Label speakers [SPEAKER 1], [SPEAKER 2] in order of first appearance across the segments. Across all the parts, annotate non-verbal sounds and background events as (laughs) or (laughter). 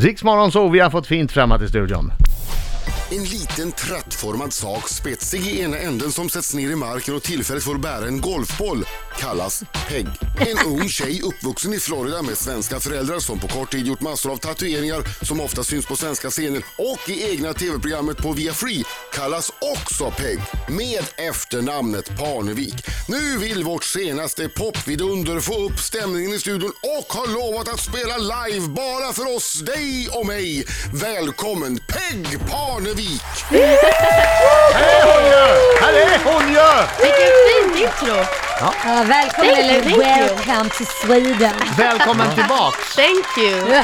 [SPEAKER 1] Riksmorgon så vi har fått fint framåt i studion.
[SPEAKER 2] En liten trattformad sak, spetsig i ena änden som sätts ner i marken och tillfälligt får bära en golfboll, kallas peg. En ung tjej uppvuxen i Florida med svenska föräldrar som på kort tid gjort massor av tatueringar som ofta syns på svenska scener och i egna tv-programmet på Via Free kallas också Peg med efternamnet Parnevik. Nu vill vårt senaste popvidunder få upp stämningen i studion och har lovat att spela live bara för oss, dig och mig. Välkommen Peg Parnevik!
[SPEAKER 1] Här är hon ju! Här är hon ju!
[SPEAKER 3] Vilket fint intro!
[SPEAKER 4] Ja, välkommen
[SPEAKER 3] Thank you,
[SPEAKER 4] eller
[SPEAKER 3] thank you.
[SPEAKER 4] welcome to Sweden.
[SPEAKER 1] Välkommen tillbaks!
[SPEAKER 3] Thank you!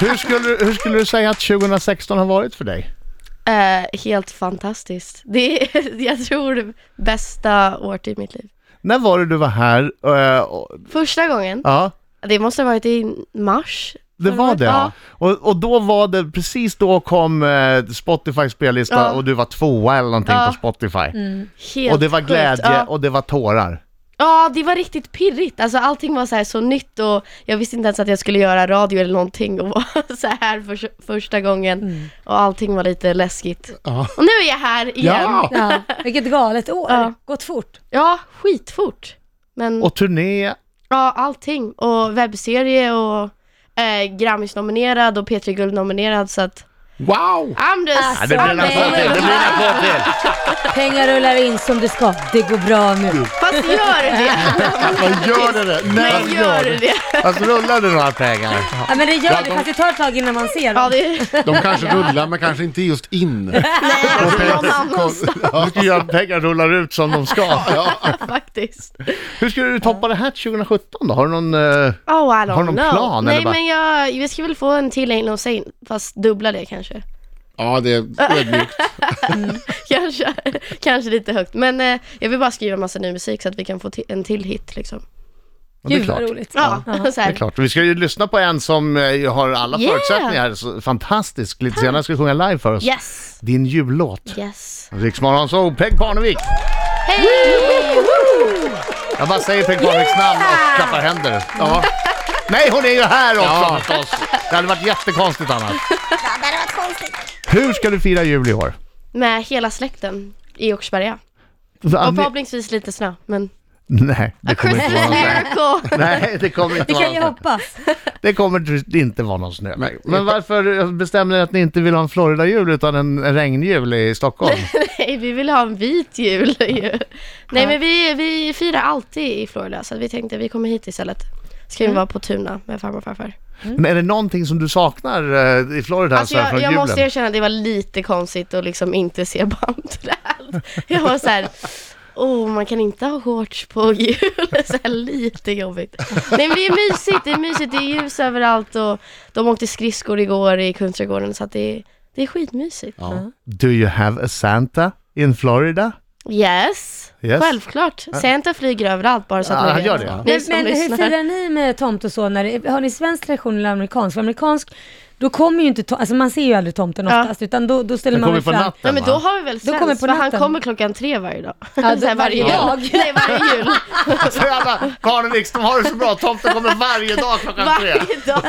[SPEAKER 1] Hur skulle, du- hur skulle du säga att 2016 har varit för dig?
[SPEAKER 3] Eh, helt fantastiskt. Det är, (laughs) jag tror, det bästa året i mitt liv.
[SPEAKER 1] När var det du var här? eh, och,
[SPEAKER 3] Första gången,
[SPEAKER 1] ja,
[SPEAKER 3] det måste ha varit i mars.
[SPEAKER 1] det var det. Ja.
[SPEAKER 3] Ja.
[SPEAKER 1] Och, och då var det, precis då kom eh, Spotify spellista
[SPEAKER 3] Ja.
[SPEAKER 1] och du var tvåa eller någonting
[SPEAKER 3] Ja. Mm.
[SPEAKER 1] på Spotify.
[SPEAKER 3] Helt
[SPEAKER 1] Och det var
[SPEAKER 3] sjukt.
[SPEAKER 1] glädje
[SPEAKER 3] Ja.
[SPEAKER 1] och det var tårar.
[SPEAKER 3] Ja, det var riktigt pirrigt. Alltså allting var så här så nytt och jag visste inte ens att jag skulle göra radio eller någonting och (laughs) vara så här för första gången. Och allting var lite läskigt.
[SPEAKER 1] Ja.
[SPEAKER 3] Och nu är jag här igen.
[SPEAKER 1] Ja.
[SPEAKER 4] Ja, vilket galet år.
[SPEAKER 3] Ja.
[SPEAKER 4] Gått fort.
[SPEAKER 3] Ja, skitfort. Men
[SPEAKER 1] Och turné,
[SPEAKER 3] ja, allting. Och webbserie och eh, Grammis-nominerad och P3 Guld-nominerad så att
[SPEAKER 1] wow!
[SPEAKER 3] I'm just...
[SPEAKER 4] Alltså,
[SPEAKER 1] det blir en
[SPEAKER 4] men-
[SPEAKER 1] applåd till, det blir en applåd till!
[SPEAKER 4] Pengar rullar in som det ska. Det går bra nu.
[SPEAKER 3] Fast gör det
[SPEAKER 1] Vad gör det det?
[SPEAKER 3] Men gör det
[SPEAKER 1] Alltså rullar det några pengar?
[SPEAKER 4] Ja, men det gör det, fast det tar ett tag innan man ser
[SPEAKER 3] Ja,
[SPEAKER 4] dem.
[SPEAKER 3] det är...
[SPEAKER 5] De kanske rullar men kanske inte just in.
[SPEAKER 3] alltså, (laughs) Någon annanstans
[SPEAKER 1] Du ska göra att pengar rullar ut som de ska.
[SPEAKER 3] faktiskt.
[SPEAKER 1] Hur skulle du toppa det här 2017 då? Har du någon... eh,
[SPEAKER 3] Oh, I don't
[SPEAKER 1] Har du någon
[SPEAKER 3] know.
[SPEAKER 1] plan, eller
[SPEAKER 3] Nej,
[SPEAKER 1] bara-
[SPEAKER 3] men jag, jag ska väl få en till Ain't No in fast dubbla det kanske. (laughs)
[SPEAKER 5] Ja, det är ödmjukt.
[SPEAKER 3] Kanske, kanske lite högt. Men eh, jag vill bara skriva massa ny musik så att vi kan få ti- en till hit liksom.
[SPEAKER 1] Ja,
[SPEAKER 4] Gud vad roligt.
[SPEAKER 3] Ja, (laughs) så
[SPEAKER 1] Det
[SPEAKER 3] här.
[SPEAKER 1] är klart. Vi ska ju lyssna på en som eh, har alla
[SPEAKER 3] Yeah.
[SPEAKER 1] förutsättningar. Så fantastisk. Lite senare ska sjunga live för oss.
[SPEAKER 3] Yes,
[SPEAKER 1] Din jullåt.
[SPEAKER 3] yes.
[SPEAKER 1] Riksmorgon så Peg Parnevik.
[SPEAKER 3] Hej!
[SPEAKER 1] Jag bara säger Peg Parneviks namn och klappar händer. Ja. Nej, hon är ju här också
[SPEAKER 5] Ja.
[SPEAKER 1] förstås. Det hade varit jättekonstigt annars. Hur ska du fira jul i år?
[SPEAKER 3] Med hela släkten i Åkersberga. Och förhoppningsvis lite snö, men...
[SPEAKER 1] Nej, det
[SPEAKER 3] A
[SPEAKER 1] kommer inte vara
[SPEAKER 3] Christmas
[SPEAKER 1] någon
[SPEAKER 4] (laughs)
[SPEAKER 1] snö.
[SPEAKER 3] miracle!
[SPEAKER 1] Nej, det kommer inte
[SPEAKER 4] Vi
[SPEAKER 1] vara
[SPEAKER 4] kan ju
[SPEAKER 1] någon snö.
[SPEAKER 4] hoppas.
[SPEAKER 1] Det kommer inte vara någon snö. Men varför bestämde ni att ni inte vill ha en Florida-jul utan en regnjul i
[SPEAKER 3] (laughs)
[SPEAKER 1] Stockholm?
[SPEAKER 3] (laughs) Nej, vi vill ha en vit jul ju. Nej, men vi, vi firar alltid i Florida, så vi tänkte vi kommer hit istället. Ska vi
[SPEAKER 1] Mm.
[SPEAKER 3] vara på Tuna med farmor och farfar.
[SPEAKER 1] Men är det någonting som du saknar eh, i Florida
[SPEAKER 3] Mm. Alltså
[SPEAKER 1] så här,
[SPEAKER 3] jag,
[SPEAKER 1] från
[SPEAKER 3] jag
[SPEAKER 1] julen?
[SPEAKER 3] måste erkänna att det var lite konstigt att liksom inte se bandträd. Jag var så här, oh man kan inte ha shorts på jul, (laughs) så här, lite jobbigt. Nej men det är mysigt, det är mysigt, det är ljus överallt och de åkte skridskor igår i Kungsträdgården så att det, är- det är skitmysigt.
[SPEAKER 1] Do you have a Santa in
[SPEAKER 3] (laughs)
[SPEAKER 1] Florida?
[SPEAKER 3] Yes,
[SPEAKER 1] Yes.
[SPEAKER 3] självklart. Santa flyger överallt bara så
[SPEAKER 1] Ja,
[SPEAKER 3] att ni
[SPEAKER 1] han
[SPEAKER 3] vet.
[SPEAKER 1] gör det, ja.
[SPEAKER 3] Ni
[SPEAKER 4] Men,
[SPEAKER 3] som
[SPEAKER 4] men hur
[SPEAKER 3] lyssnar.
[SPEAKER 4] firar ni med tomt och så? När det, har ni svensk tradition eller amerikansk? För amerikansk, då kommer ju inte tom, alltså man ser ju aldrig tomten
[SPEAKER 3] Ja.
[SPEAKER 4] oftast, utan då, då ställer
[SPEAKER 1] Den
[SPEAKER 4] man
[SPEAKER 1] kommer
[SPEAKER 4] väl
[SPEAKER 1] på
[SPEAKER 4] fram.
[SPEAKER 1] natten
[SPEAKER 3] Nej men
[SPEAKER 1] va?
[SPEAKER 3] då har vi väl svensk,
[SPEAKER 4] kommer på
[SPEAKER 3] för han
[SPEAKER 4] natten.
[SPEAKER 3] kommer klockan tre varje dag. (laughs)
[SPEAKER 4] Ja,
[SPEAKER 3] Så här,
[SPEAKER 4] då- varje dag.
[SPEAKER 3] jul. Nej varje jul.
[SPEAKER 1] Så jävla Parneviks, Alltså, de har det så bra. Tomten kommer varje dag klockan tre.
[SPEAKER 3] Varje dag.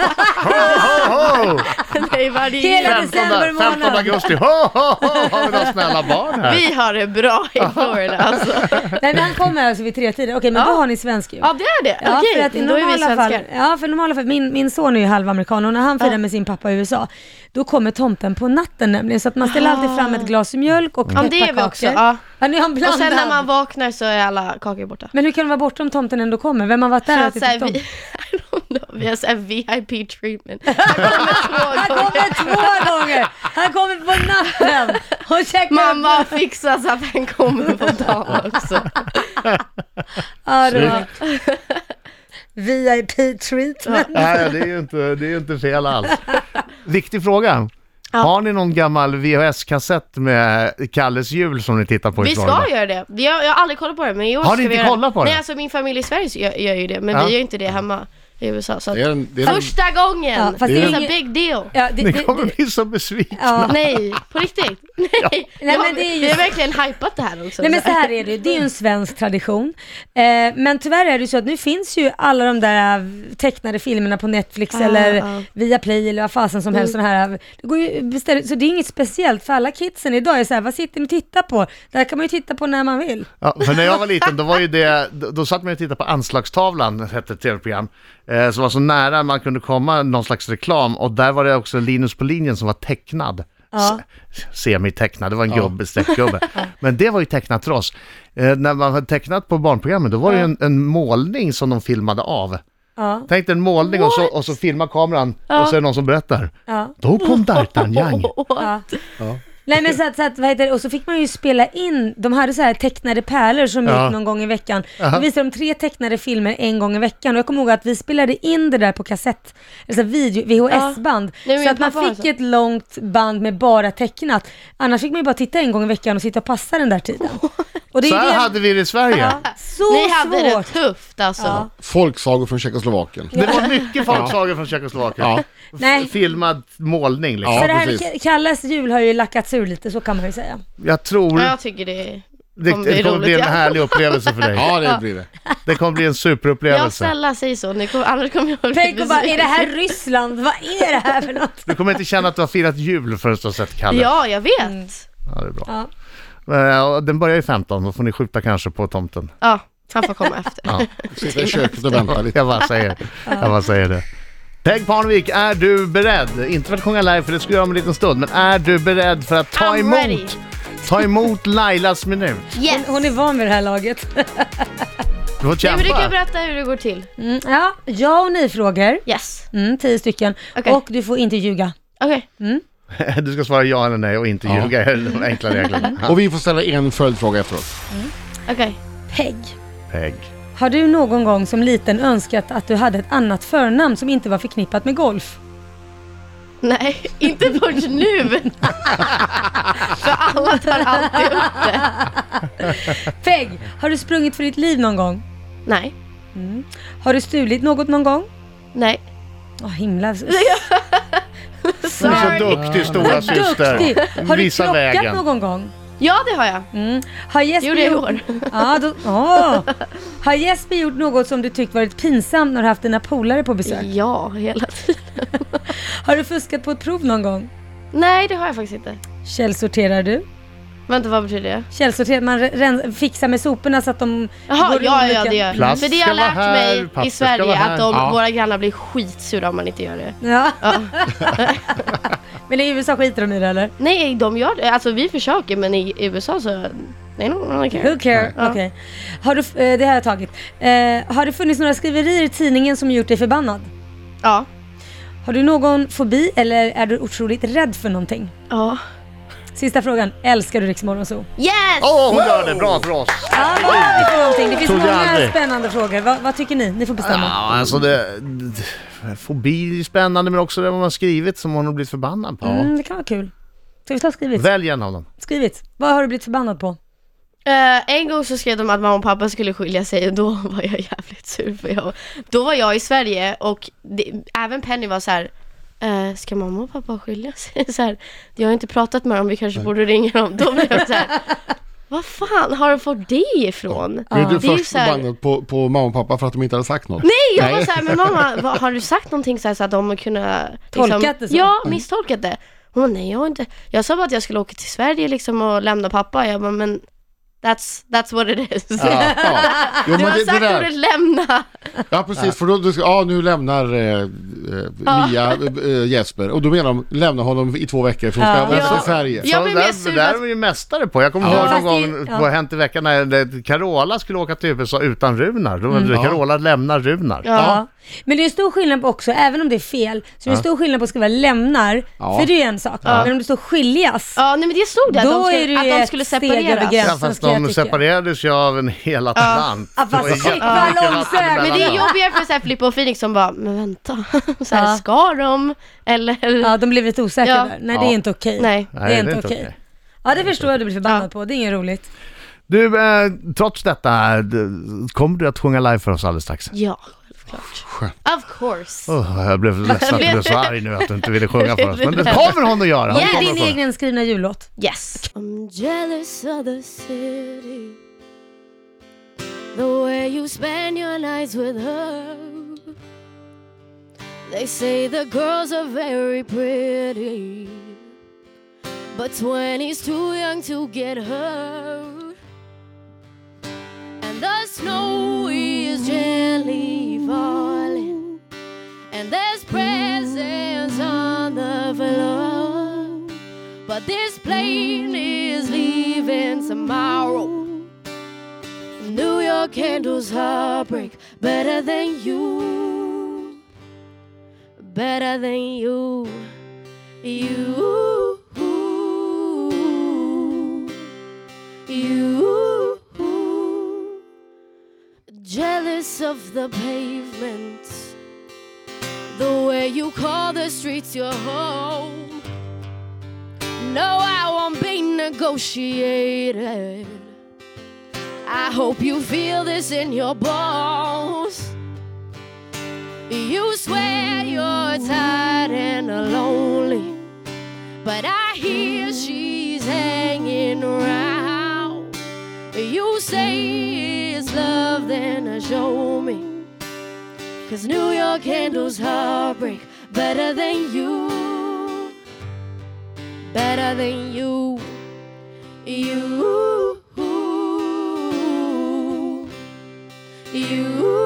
[SPEAKER 1] Ho, ho, ho!
[SPEAKER 3] (laughs) Nej varje jul.
[SPEAKER 4] Hela
[SPEAKER 1] 15,
[SPEAKER 4] december månad.
[SPEAKER 1] 15 augusti. Ho, ho, ho! Har vi några snälla barn här?
[SPEAKER 3] Vi har det bra i Florida
[SPEAKER 4] (laughs)
[SPEAKER 3] alltså.
[SPEAKER 4] Nej men han kommer alltså vid tre tider. Okej men
[SPEAKER 3] Ja.
[SPEAKER 4] då har ni svensk jul.
[SPEAKER 3] Ja det är det,
[SPEAKER 4] Ja, för
[SPEAKER 3] okej,
[SPEAKER 4] att i
[SPEAKER 3] då är vi
[SPEAKER 4] normala fall,
[SPEAKER 3] svenskar.
[SPEAKER 4] ja, för i normala fall, min, min son är ju halvamerikan och när han firar
[SPEAKER 3] Ja.
[SPEAKER 4] med sin pappa i USA, då kommer tomten på natten nämligen. Så att man ställer alltid fram ett glas mjölk och
[SPEAKER 3] Ah. Ja, men det är vi
[SPEAKER 4] pepparkakor.
[SPEAKER 3] också, ja.
[SPEAKER 4] Ja, nu är han blandad.
[SPEAKER 3] Och sen när man vaknar så är alla kakor borta.
[SPEAKER 4] Men hur kan det vara borta om tomten ändå kommer? Vem har typ varit
[SPEAKER 3] För
[SPEAKER 4] där och
[SPEAKER 3] att så här,
[SPEAKER 4] ätit upp
[SPEAKER 3] vi,
[SPEAKER 4] tomten?
[SPEAKER 3] (laughs) I don't know, vi har såhär VIP
[SPEAKER 4] (laughs)
[SPEAKER 3] treatment. Här kommer två
[SPEAKER 4] Han
[SPEAKER 3] gånger.
[SPEAKER 4] kommer två gånger! Han kommer på natten och käkar upp.
[SPEAKER 3] Mamma fixar så att han kommer på
[SPEAKER 4] (laughs)
[SPEAKER 3] dagen också.
[SPEAKER 4] Ja, det var- VIP treatment.
[SPEAKER 1] Nej, ja, det är ju inte, det är ju inte fel alls. Viktig fråga.
[SPEAKER 3] Ja.
[SPEAKER 1] Har ni någon gammal VHS-kassett med Kalles jul som ni tittar på i
[SPEAKER 3] Vi
[SPEAKER 1] Florida?
[SPEAKER 3] ska göra det. Jag, jag har aldrig kollat på det men i år
[SPEAKER 1] Har ni
[SPEAKER 3] ska vi
[SPEAKER 1] inte
[SPEAKER 3] göra
[SPEAKER 1] kollat på det?
[SPEAKER 3] Nej alltså min familj i Sverige gör, gör ju det men
[SPEAKER 1] Ja.
[SPEAKER 3] vi gör ju inte det hemma. i USA. Så att
[SPEAKER 5] Det är en, det är en,
[SPEAKER 3] första gången!
[SPEAKER 4] Ja, fast
[SPEAKER 3] det
[SPEAKER 4] det är
[SPEAKER 3] är en
[SPEAKER 4] inget-
[SPEAKER 3] big deal.
[SPEAKER 4] Ja, det,
[SPEAKER 1] Ni
[SPEAKER 4] det-
[SPEAKER 1] kommer
[SPEAKER 4] det-
[SPEAKER 1] bli så besvikna.
[SPEAKER 4] ja.
[SPEAKER 3] Nej, på
[SPEAKER 4] (laughs)
[SPEAKER 3] riktigt. Nej,
[SPEAKER 4] Nej,
[SPEAKER 3] Ja,
[SPEAKER 4] men det är ju-
[SPEAKER 3] Vi har verkligen hypat det här också. Mm.
[SPEAKER 4] Nej men så här är det ju, det är ju en svensk tradition. Eh, men tyvärr är det ju så att nu finns ju alla de där eh, tecknade filmerna på Netflix
[SPEAKER 3] Ah,
[SPEAKER 4] eller
[SPEAKER 3] ah. Mm. Viaplay
[SPEAKER 4] Viaplay eller vad fasen som helst. såna här. Det går ju beställ- så det är inget speciellt för alla kidsen idag är så här, vad sitter ni och tittar på? Det här kan man ju titta på när man vill.
[SPEAKER 1] Ja, för när jag var liten, då var ju det, då, då satt man och tittade på Anslagstavlan, hette ett tv-program, eh, som var så nära man kunde komma någon slags reklam och där var det också Linus på linjen som var tecknad.
[SPEAKER 4] Ja.
[SPEAKER 1] Se- Semitecknad, det var en gubbe, streckgubbe. Men det var ju tecknat för oss. Eh, när man hade tecknat på barnprogrammen, då var det ju en, en målning som de filmade av.
[SPEAKER 4] Ja.
[SPEAKER 1] Tänk dig en målning och så, och så filmar kameran och så är det någon som berättar.
[SPEAKER 4] Ja.
[SPEAKER 1] Då kom
[SPEAKER 4] (laughs)
[SPEAKER 1] Dartanjang.
[SPEAKER 4] Ja. Nej men så att, så att vad heter det? och så fick man ju spela in, de hade så här tecknade pärlor som
[SPEAKER 1] Ja.
[SPEAKER 4] gick någon gång i veckan. Då visade de tre tecknade filmer en gång i veckan och jag kommer ihåg att vi spelade in det där på kassett, alltså video, VHS-band.
[SPEAKER 3] Nej, men
[SPEAKER 4] Så
[SPEAKER 3] min
[SPEAKER 4] att man
[SPEAKER 3] pappa har
[SPEAKER 4] fick
[SPEAKER 3] så.
[SPEAKER 4] ett långt band med bara tecknat. Annars fick man ju bara titta en gång i veckan och sitta och passa den
[SPEAKER 3] (laughs)
[SPEAKER 4] där tiden. Och det är
[SPEAKER 1] Så
[SPEAKER 4] ju
[SPEAKER 1] här
[SPEAKER 4] det-
[SPEAKER 1] hade vi det i Sverige.
[SPEAKER 4] ja, Så
[SPEAKER 3] Ni hade det
[SPEAKER 4] svårt!
[SPEAKER 3] tufft alltså.
[SPEAKER 4] Ja.
[SPEAKER 5] folksagor från Tjeckoslovakien.
[SPEAKER 1] Det var mycket folksagor från Tjeckoslovakien.
[SPEAKER 5] Ja.
[SPEAKER 4] Nej.
[SPEAKER 1] Filmad målning liksom.
[SPEAKER 5] Ja,
[SPEAKER 4] så det här
[SPEAKER 5] precis.
[SPEAKER 4] K- Kalles jul har ju lackats ur lite, så kan man
[SPEAKER 3] (laughs)
[SPEAKER 4] ju säga.
[SPEAKER 1] Jag tror
[SPEAKER 3] Ja,
[SPEAKER 1] det,
[SPEAKER 3] jag tycker det är...
[SPEAKER 1] det
[SPEAKER 3] kommer bli
[SPEAKER 1] kommer bli en
[SPEAKER 3] roligt, ja.
[SPEAKER 1] härlig upplevelse för
[SPEAKER 5] (laughs)
[SPEAKER 1] dig.
[SPEAKER 5] Ja, det blir det.
[SPEAKER 1] Det kommer bli en
[SPEAKER 3] Jag
[SPEAKER 1] superupplevelse.
[SPEAKER 3] snälla säg så, nu kommer, annars kommer jag bli
[SPEAKER 4] Tänk och bara, är det
[SPEAKER 3] besviken.
[SPEAKER 4] här Ryssland? Vad är det här för något?
[SPEAKER 1] Du kommer inte känna att du har firat jul förrän du har sett Kalle.
[SPEAKER 3] (laughs) Ja, jag vet.
[SPEAKER 4] Mm.
[SPEAKER 1] Ja, det är bra.
[SPEAKER 4] Ja.
[SPEAKER 1] Eh, och Den börjar ju 15, då får ni skjuta kanske på tomten. (laughs)
[SPEAKER 3] Ja, han får komma efter.
[SPEAKER 5] Sitta i köket och vänta lite.
[SPEAKER 1] Jag bara säger, jag bara säger det. Peg Parnevik, är du beredd? Inte för att sjunga live, för det ska jag göra om en liten stund, men är du beredd för att ta
[SPEAKER 3] I'm ready.
[SPEAKER 1] emot, ta emot Lailas minut?
[SPEAKER 3] Yes!
[SPEAKER 4] (laughs) Hon är van vid det här laget.
[SPEAKER 1] Du får
[SPEAKER 3] Nej, men du kan
[SPEAKER 1] kämpa.
[SPEAKER 3] berätta hur det går till.
[SPEAKER 4] Mm, ja, ja och nej-frågor.
[SPEAKER 3] Yes.
[SPEAKER 4] Mm, tio stycken.
[SPEAKER 3] Okej.
[SPEAKER 4] Och du får inte ljuga.
[SPEAKER 3] Okej.
[SPEAKER 1] (laughs) Du ska svara ja eller nej och inte
[SPEAKER 5] Ja.
[SPEAKER 1] ljuga, (laughs) det är de
[SPEAKER 5] (laughs)
[SPEAKER 1] enkla reglerna.
[SPEAKER 5] Och vi får ställa en följdfråga efteråt.
[SPEAKER 3] Okej.
[SPEAKER 4] Peg.
[SPEAKER 1] Peg.
[SPEAKER 4] Har du någon gång som liten önskat att du hade ett annat förnamn som inte var förknippat med golf?
[SPEAKER 3] Nej, (laughs) inte först
[SPEAKER 4] (laughs)
[SPEAKER 3] nu. För alla tar alltid upp det.
[SPEAKER 4] Peg. Har du sprungit för ditt liv någon gång?
[SPEAKER 3] Nej,
[SPEAKER 4] Har du stulit något någon gång?
[SPEAKER 3] nej.
[SPEAKER 4] Åh himla...
[SPEAKER 1] Du är
[SPEAKER 3] Sorry.
[SPEAKER 1] så duktig stora syster.
[SPEAKER 4] Duktig! Har du
[SPEAKER 1] Visa
[SPEAKER 4] krockat
[SPEAKER 1] vägen.
[SPEAKER 4] någon gång?
[SPEAKER 3] Ja, det har jag.
[SPEAKER 4] Mm. Har Jesper
[SPEAKER 3] Gjorde jag i
[SPEAKER 4] gjort...
[SPEAKER 3] år.
[SPEAKER 4] Ja, då... Åh. Har Jesper gjort något som du tyckt varit pinsamt när du haft dina polare på besök?
[SPEAKER 3] Ja, hela tiden.
[SPEAKER 4] Har du fuskat på ett prov någon gång?
[SPEAKER 3] Nej, det har jag faktiskt inte.
[SPEAKER 4] Källsorterar du?
[SPEAKER 3] Vänta, vad betyder det?
[SPEAKER 4] Källsorterar, man re- ren- fixar med soporna så att de
[SPEAKER 3] Jaha,
[SPEAKER 4] går i
[SPEAKER 3] ja,
[SPEAKER 4] olika-
[SPEAKER 3] ja, det gör jag.
[SPEAKER 1] Plast
[SPEAKER 3] För det har
[SPEAKER 1] ska
[SPEAKER 3] jag
[SPEAKER 1] vara
[SPEAKER 3] lärt
[SPEAKER 1] här,
[SPEAKER 3] mig
[SPEAKER 1] papper
[SPEAKER 3] i
[SPEAKER 1] ska vara
[SPEAKER 3] Sverige
[SPEAKER 1] här.
[SPEAKER 3] att de,
[SPEAKER 5] Ja.
[SPEAKER 3] våra grannar blir skitsura om man inte gör det.
[SPEAKER 4] Ja.
[SPEAKER 3] Ja.
[SPEAKER 4] (laughs) Men i USA skiter de i det eller?
[SPEAKER 3] Nej, de gör det. Alltså vi försöker, men i USA så... Nej, no, no, okay.
[SPEAKER 4] Who care? Okej. Har du, f- eh, det här har jag tagit. Eh, har det funnits några skriverier i tidningen som gjort dig förbannad?
[SPEAKER 3] Ja.
[SPEAKER 4] Har du någon fobi eller är du otroligt rädd för någonting?
[SPEAKER 3] Ja.
[SPEAKER 4] Sista frågan, älskar du Rix Morgonzoo?
[SPEAKER 3] Yes!
[SPEAKER 1] Åh, hon gör det! Bra för oss!
[SPEAKER 4] Ja, vad har vi för någonting? Det finns
[SPEAKER 1] Trodde jag
[SPEAKER 4] många
[SPEAKER 1] aldrig.
[SPEAKER 4] spännande frågor. Va, vad tycker ni? Ni får bestämma.
[SPEAKER 1] Ja, alltså det, det- fobi är ju spännande men också det man har skrivit som hon har blivit förbannad på.
[SPEAKER 4] Mm, det kan vara kul. Ska vi ta skrivit?
[SPEAKER 1] Välj en av dem.
[SPEAKER 4] Skrivit. Vad har du blivit förbannad på?
[SPEAKER 3] Eh, en gång så skrev de att mamma och pappa skulle skilja sig och då (laughs) var jag jävligt sur för jag, då var jag i Sverige och det, även Penny var så här. eh, ska mamma och pappa skilja sig? (laughs) Så här, jag har inte pratat med dem, vi kanske borde ringa dem. Då blev jag så
[SPEAKER 4] (laughs)
[SPEAKER 3] här, vad fan har de fått det ifrån?
[SPEAKER 5] Blev du
[SPEAKER 3] Det är ju
[SPEAKER 5] först
[SPEAKER 3] så här-
[SPEAKER 5] förbannad på, på mamma och pappa för att de inte hade sagt något?
[SPEAKER 3] Nej, jag var såhär, men mamma, vad, har du sagt någonting så, här så att de har kunnat... liksom-
[SPEAKER 4] Tolkat det så? Mm.
[SPEAKER 3] Ja, misstolkat det. Hon bara, nej jag har inte... Jag sa bara att jag skulle åka till Sverige liksom och lämna pappa. Jag bara, men that's, that's what it is.
[SPEAKER 5] Ja, ja. Jo,
[SPEAKER 3] Du
[SPEAKER 5] men
[SPEAKER 3] har
[SPEAKER 5] det, det
[SPEAKER 3] sagt
[SPEAKER 5] där.
[SPEAKER 3] ordet lämna.
[SPEAKER 5] Ja, precis. För då, du ska, ja, nu lämnar eh, eh, Mia eh, Jesper. Och då menar de, lämna honom i två veckor för hon ska
[SPEAKER 4] Ja.
[SPEAKER 5] resa
[SPEAKER 3] Ja.
[SPEAKER 5] till Sverige.
[SPEAKER 3] Ja,
[SPEAKER 1] Så
[SPEAKER 3] men
[SPEAKER 1] där,
[SPEAKER 3] jag är sur
[SPEAKER 1] det där
[SPEAKER 3] att-
[SPEAKER 1] är vi ju mästare på. Jag kommer
[SPEAKER 5] Ja.
[SPEAKER 1] ihåg någon
[SPEAKER 4] Fast det-
[SPEAKER 1] gång
[SPEAKER 4] ja.
[SPEAKER 1] på Hänt i veckan när det- Carola skulle åka till USA utan Runar. Då var det
[SPEAKER 5] Ja.
[SPEAKER 1] Carola lämnar Runar.
[SPEAKER 3] Ja.
[SPEAKER 4] Men det är en stor skillnad på också, även om det är fel, så det är en stor skillnad på att skriva lämnar,
[SPEAKER 5] Ja.
[SPEAKER 4] för det är ju en sak. Men om det står skiljas,
[SPEAKER 3] Ja, nej men det stod det, att
[SPEAKER 4] Då
[SPEAKER 3] de
[SPEAKER 4] är det
[SPEAKER 3] skulle,
[SPEAKER 4] ju
[SPEAKER 3] att de
[SPEAKER 4] ett
[SPEAKER 3] skulle
[SPEAKER 4] steg
[SPEAKER 3] separeras.
[SPEAKER 4] över gränsen.
[SPEAKER 1] Ja,
[SPEAKER 4] så
[SPEAKER 1] fast
[SPEAKER 4] ska jag
[SPEAKER 1] de
[SPEAKER 4] tycka.
[SPEAKER 1] separerades ju av en hel Atlant.
[SPEAKER 4] Ja, fast
[SPEAKER 1] Det var
[SPEAKER 4] shit,
[SPEAKER 1] jättemycket
[SPEAKER 4] vad
[SPEAKER 1] vatten
[SPEAKER 4] långsökt.
[SPEAKER 1] emellan
[SPEAKER 3] Men det är
[SPEAKER 1] dem.
[SPEAKER 3] jobbigare för så här, Filippa och Phoenix som bara, men vänta, (laughs) så här,
[SPEAKER 4] Ja.
[SPEAKER 3] ska de? Eller?
[SPEAKER 4] ja de blev lite osäkra
[SPEAKER 3] Ja.
[SPEAKER 4] där. Nej det är inte okej.
[SPEAKER 3] Nej.
[SPEAKER 4] Det
[SPEAKER 1] Nej,
[SPEAKER 4] är inte okej. Ja det förstår jag att du blir förbannad
[SPEAKER 3] Ja.
[SPEAKER 4] på, det är inget roligt.
[SPEAKER 1] eh, Du, eh, trots detta, d- kommer du att sjunga live för oss alldeles strax?
[SPEAKER 3] Ja. såklart. Of course.
[SPEAKER 1] Oh, jag blev ledsen att du blev så arg nu att du inte ville sjunga för oss.
[SPEAKER 3] (laughs)
[SPEAKER 1] Men det
[SPEAKER 3] Blev-
[SPEAKER 1] kommer hon att göra. Hon
[SPEAKER 4] Ge
[SPEAKER 1] kommer
[SPEAKER 4] din
[SPEAKER 1] att sjunga.
[SPEAKER 4] egen skrivna jullåt.
[SPEAKER 3] Yes. I'm jealous of the city. The way you spend your nights with her. They say the girls are very pretty. But 20's too young to get her. And the snow is gently falling. And there's presents on the floor. But this plane is leaving tomorrow. New York handles heartbreak better than you. Better than you. You. You. Jealous of the pavement. The way you call the streets your home. No, I won't be negotiated. I hope you feel this in your bones. You swear you're tired and lonely, but I hear she's hanging around. You say it's love, then show me. Cause New York handles heartbreak better than you better than you. You. You.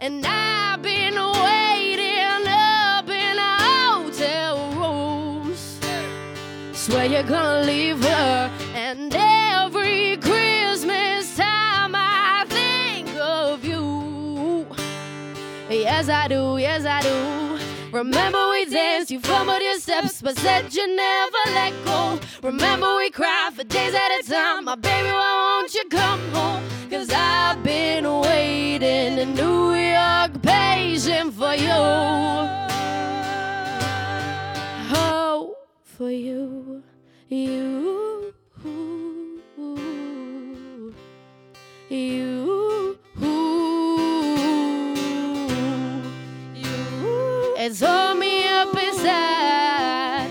[SPEAKER 3] And I've been waiting up in hotel rooms. Swear you're gonna leave her. And every Christmas time I think of you. Yes, I do, yes, I do. Remember we danced, you fumbled your steps, but said you never let go. Remember we cried for days at a time. My baby, why won't you come home? Cause I've been waiting in New York, patient for you. Oh, for you, you. You. It's hold me up inside.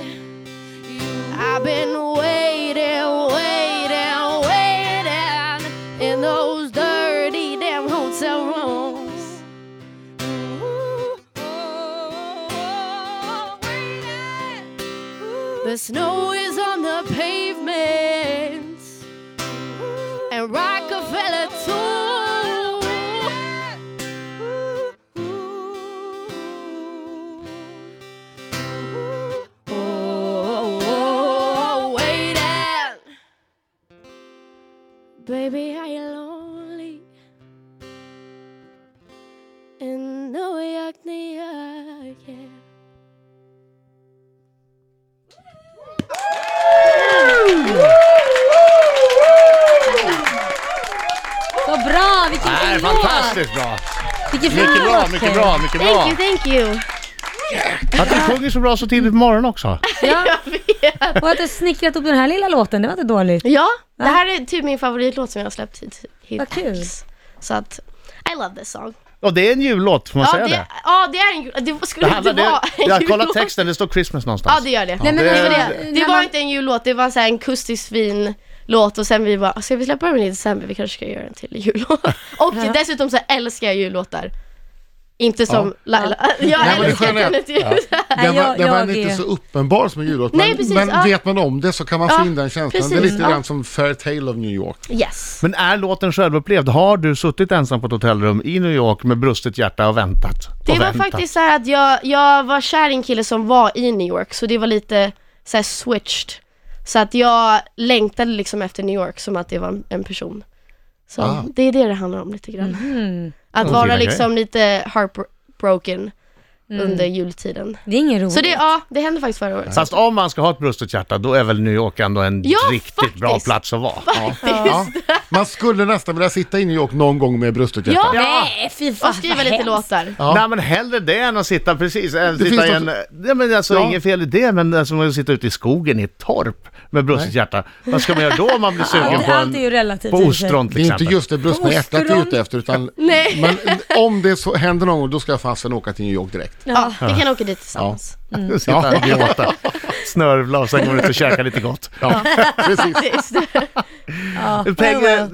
[SPEAKER 3] I've been waiting, waiting, waiting in those dirty damn hotel rooms. The snow is on the pavement and Rockefeller too. Oh, waiting. Baby, are you lonely? In New York, New York, yeah.
[SPEAKER 4] Så bra, vilken
[SPEAKER 1] Nej,
[SPEAKER 4] fin låt!
[SPEAKER 1] fantastiskt bra.
[SPEAKER 4] Vilken fin
[SPEAKER 1] Mycket bra,
[SPEAKER 4] låt,
[SPEAKER 1] mycket
[SPEAKER 4] Keyyo.
[SPEAKER 1] bra, mycket bra.
[SPEAKER 3] Thank you, thank (laughs) you.
[SPEAKER 1] Att du sjunger så bra så tidigt på morgonen också.
[SPEAKER 4] Ja. Och att du snickrat upp den här lilla låten, det var inte dåligt.
[SPEAKER 3] Ja, det här är typ min favoritlåt som jag har släppt hit. hit
[SPEAKER 4] Vad kul.
[SPEAKER 3] hittills. Så att, I love this song.
[SPEAKER 1] Och det är en jullåt, får man
[SPEAKER 3] Ja
[SPEAKER 1] säga
[SPEAKER 3] det,
[SPEAKER 1] det?
[SPEAKER 3] ja, det är en jul... Det skulle inte
[SPEAKER 1] det
[SPEAKER 3] vara en
[SPEAKER 1] jag kollar
[SPEAKER 3] jullåt.
[SPEAKER 1] texten, det står Christmas någonstans.
[SPEAKER 3] Ja, det gör det.
[SPEAKER 1] Nej, men
[SPEAKER 3] det,
[SPEAKER 1] när
[SPEAKER 3] var
[SPEAKER 1] man-
[SPEAKER 3] det.
[SPEAKER 4] när
[SPEAKER 3] det
[SPEAKER 4] man-
[SPEAKER 3] var inte en jullåt, det var så här en akustisk fin låt och sen vi bara, ska vi släppa den i december? Vi kanske ska göra en till jullåt. Och dessutom så älskar jag jullåtar. Inte som Laila. (laughs) Jag
[SPEAKER 5] men det
[SPEAKER 3] älskar
[SPEAKER 5] sköna är-
[SPEAKER 3] den inte
[SPEAKER 5] Ja. Den
[SPEAKER 4] Nej,
[SPEAKER 5] var,
[SPEAKER 4] jag-
[SPEAKER 5] den var
[SPEAKER 4] jag
[SPEAKER 5] inte
[SPEAKER 4] är-
[SPEAKER 5] så uppenbar som en jullåt,
[SPEAKER 3] Nej,
[SPEAKER 5] men,
[SPEAKER 3] precis,
[SPEAKER 5] men
[SPEAKER 3] ja.
[SPEAKER 5] vet man om det så kan man få
[SPEAKER 3] Ja,
[SPEAKER 5] in den känslan. det är
[SPEAKER 3] precis,
[SPEAKER 5] lite
[SPEAKER 3] ja.
[SPEAKER 5] grann som Fair Tale of New York.
[SPEAKER 3] (laughs) Yes.
[SPEAKER 1] Men är låten självupplevd? Har du suttit ensam på ett hotellrum i New York med brustet hjärta och väntat? Och
[SPEAKER 3] Det var
[SPEAKER 1] väntat?
[SPEAKER 3] faktiskt så här att jag, jag var kär i en kille som var i New York, så det var lite så här switched. Så att jag längtade liksom efter New York som att det var en- en person. Så
[SPEAKER 5] Ah.
[SPEAKER 4] Mm-hmm.
[SPEAKER 3] det är det det handlar om lite grann. Att
[SPEAKER 1] Ja,
[SPEAKER 3] vara
[SPEAKER 1] fina
[SPEAKER 3] liksom lite heartbroken
[SPEAKER 4] Mm.
[SPEAKER 3] under jultiden.
[SPEAKER 4] Det är ingen roligt.
[SPEAKER 3] Så det, ja, det hände faktiskt förra året.
[SPEAKER 1] Fast om man ska ha ett brustet hjärta, då är väl New York ändå en
[SPEAKER 3] Ja,
[SPEAKER 1] riktigt
[SPEAKER 3] faktiskt.
[SPEAKER 1] bra plats att vara.
[SPEAKER 5] Ja. Man skulle nästan vilja sitta i New York någon gång med brustet hjärta.
[SPEAKER 3] Ja,
[SPEAKER 4] Nej, fy fan
[SPEAKER 3] och skriva
[SPEAKER 4] vad
[SPEAKER 3] lite
[SPEAKER 4] hemskt.
[SPEAKER 3] låtar.
[SPEAKER 5] Ja.
[SPEAKER 1] Nej men hellre det än att sitta precis, än sitta
[SPEAKER 5] finns
[SPEAKER 1] i en, nej men alltså
[SPEAKER 5] Ja.
[SPEAKER 1] inget fel i det, men alltså man sitta ute i skogen i ett torp med brustet hjärta. Vad ska man göra då om man blir sugen
[SPEAKER 4] Allt,
[SPEAKER 1] på,
[SPEAKER 4] allt är ju
[SPEAKER 1] en,
[SPEAKER 4] relativt.
[SPEAKER 1] på
[SPEAKER 4] i och för sig.
[SPEAKER 1] ostron
[SPEAKER 5] Det
[SPEAKER 1] till
[SPEAKER 5] är inte
[SPEAKER 1] exempel?
[SPEAKER 5] just det brustna hjärtat du är ute efter utan
[SPEAKER 3] (laughs) Nej.
[SPEAKER 5] Men om det så händer någon gång då ska jag fasen åka till New York direkt.
[SPEAKER 3] Ja, vi kan åka dit tillsammans.
[SPEAKER 1] Mm. Sitta här och gråta, snörvla och sen gå ut och käka lite gott.
[SPEAKER 5] Ja, precis.
[SPEAKER 3] Just det.
[SPEAKER 4] Ja.
[SPEAKER 1] Pegge, eh,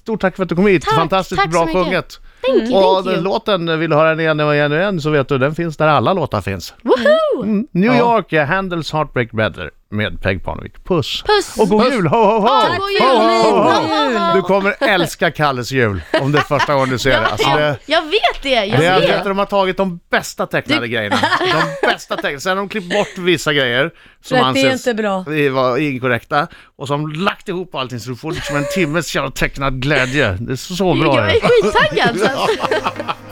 [SPEAKER 1] stort tack för att du kom hit.
[SPEAKER 3] Tack,
[SPEAKER 1] Fantastiskt
[SPEAKER 3] tack
[SPEAKER 1] bra
[SPEAKER 3] så mycket.
[SPEAKER 1] sjunget.
[SPEAKER 3] Thank you,
[SPEAKER 1] Och
[SPEAKER 3] thank you.
[SPEAKER 1] låten, vill du höra den igen och igen och igen så vet du, den finns där alla låtar finns.
[SPEAKER 3] Woho!
[SPEAKER 1] Mm, New York, ja, Handels Heartbreak Brother med Peg Parnevik. Puss!
[SPEAKER 3] Puss!
[SPEAKER 1] Och god jul! Ho, ho, ho!
[SPEAKER 3] Ja, god jul!
[SPEAKER 1] ho, ho,
[SPEAKER 3] Ho, ho, ho.
[SPEAKER 1] Du kommer älska Kalles jul om det är första gången du ser det. Alltså, det
[SPEAKER 3] Jag vet det! Jag
[SPEAKER 1] det är
[SPEAKER 3] vet.
[SPEAKER 1] att de har tagit de bästa tecknade grejerna. De bästa tecknade. Sen har de klippt bort vissa grejer som
[SPEAKER 4] För att det är
[SPEAKER 1] anses
[SPEAKER 4] inte bra.
[SPEAKER 1] vara inkorrekta. Och så har de lagt ihop allting så du får liksom en timmes jävla tecknad glädje. Det är så bra.
[SPEAKER 3] Jag
[SPEAKER 1] det.
[SPEAKER 3] är skittaggad! så att-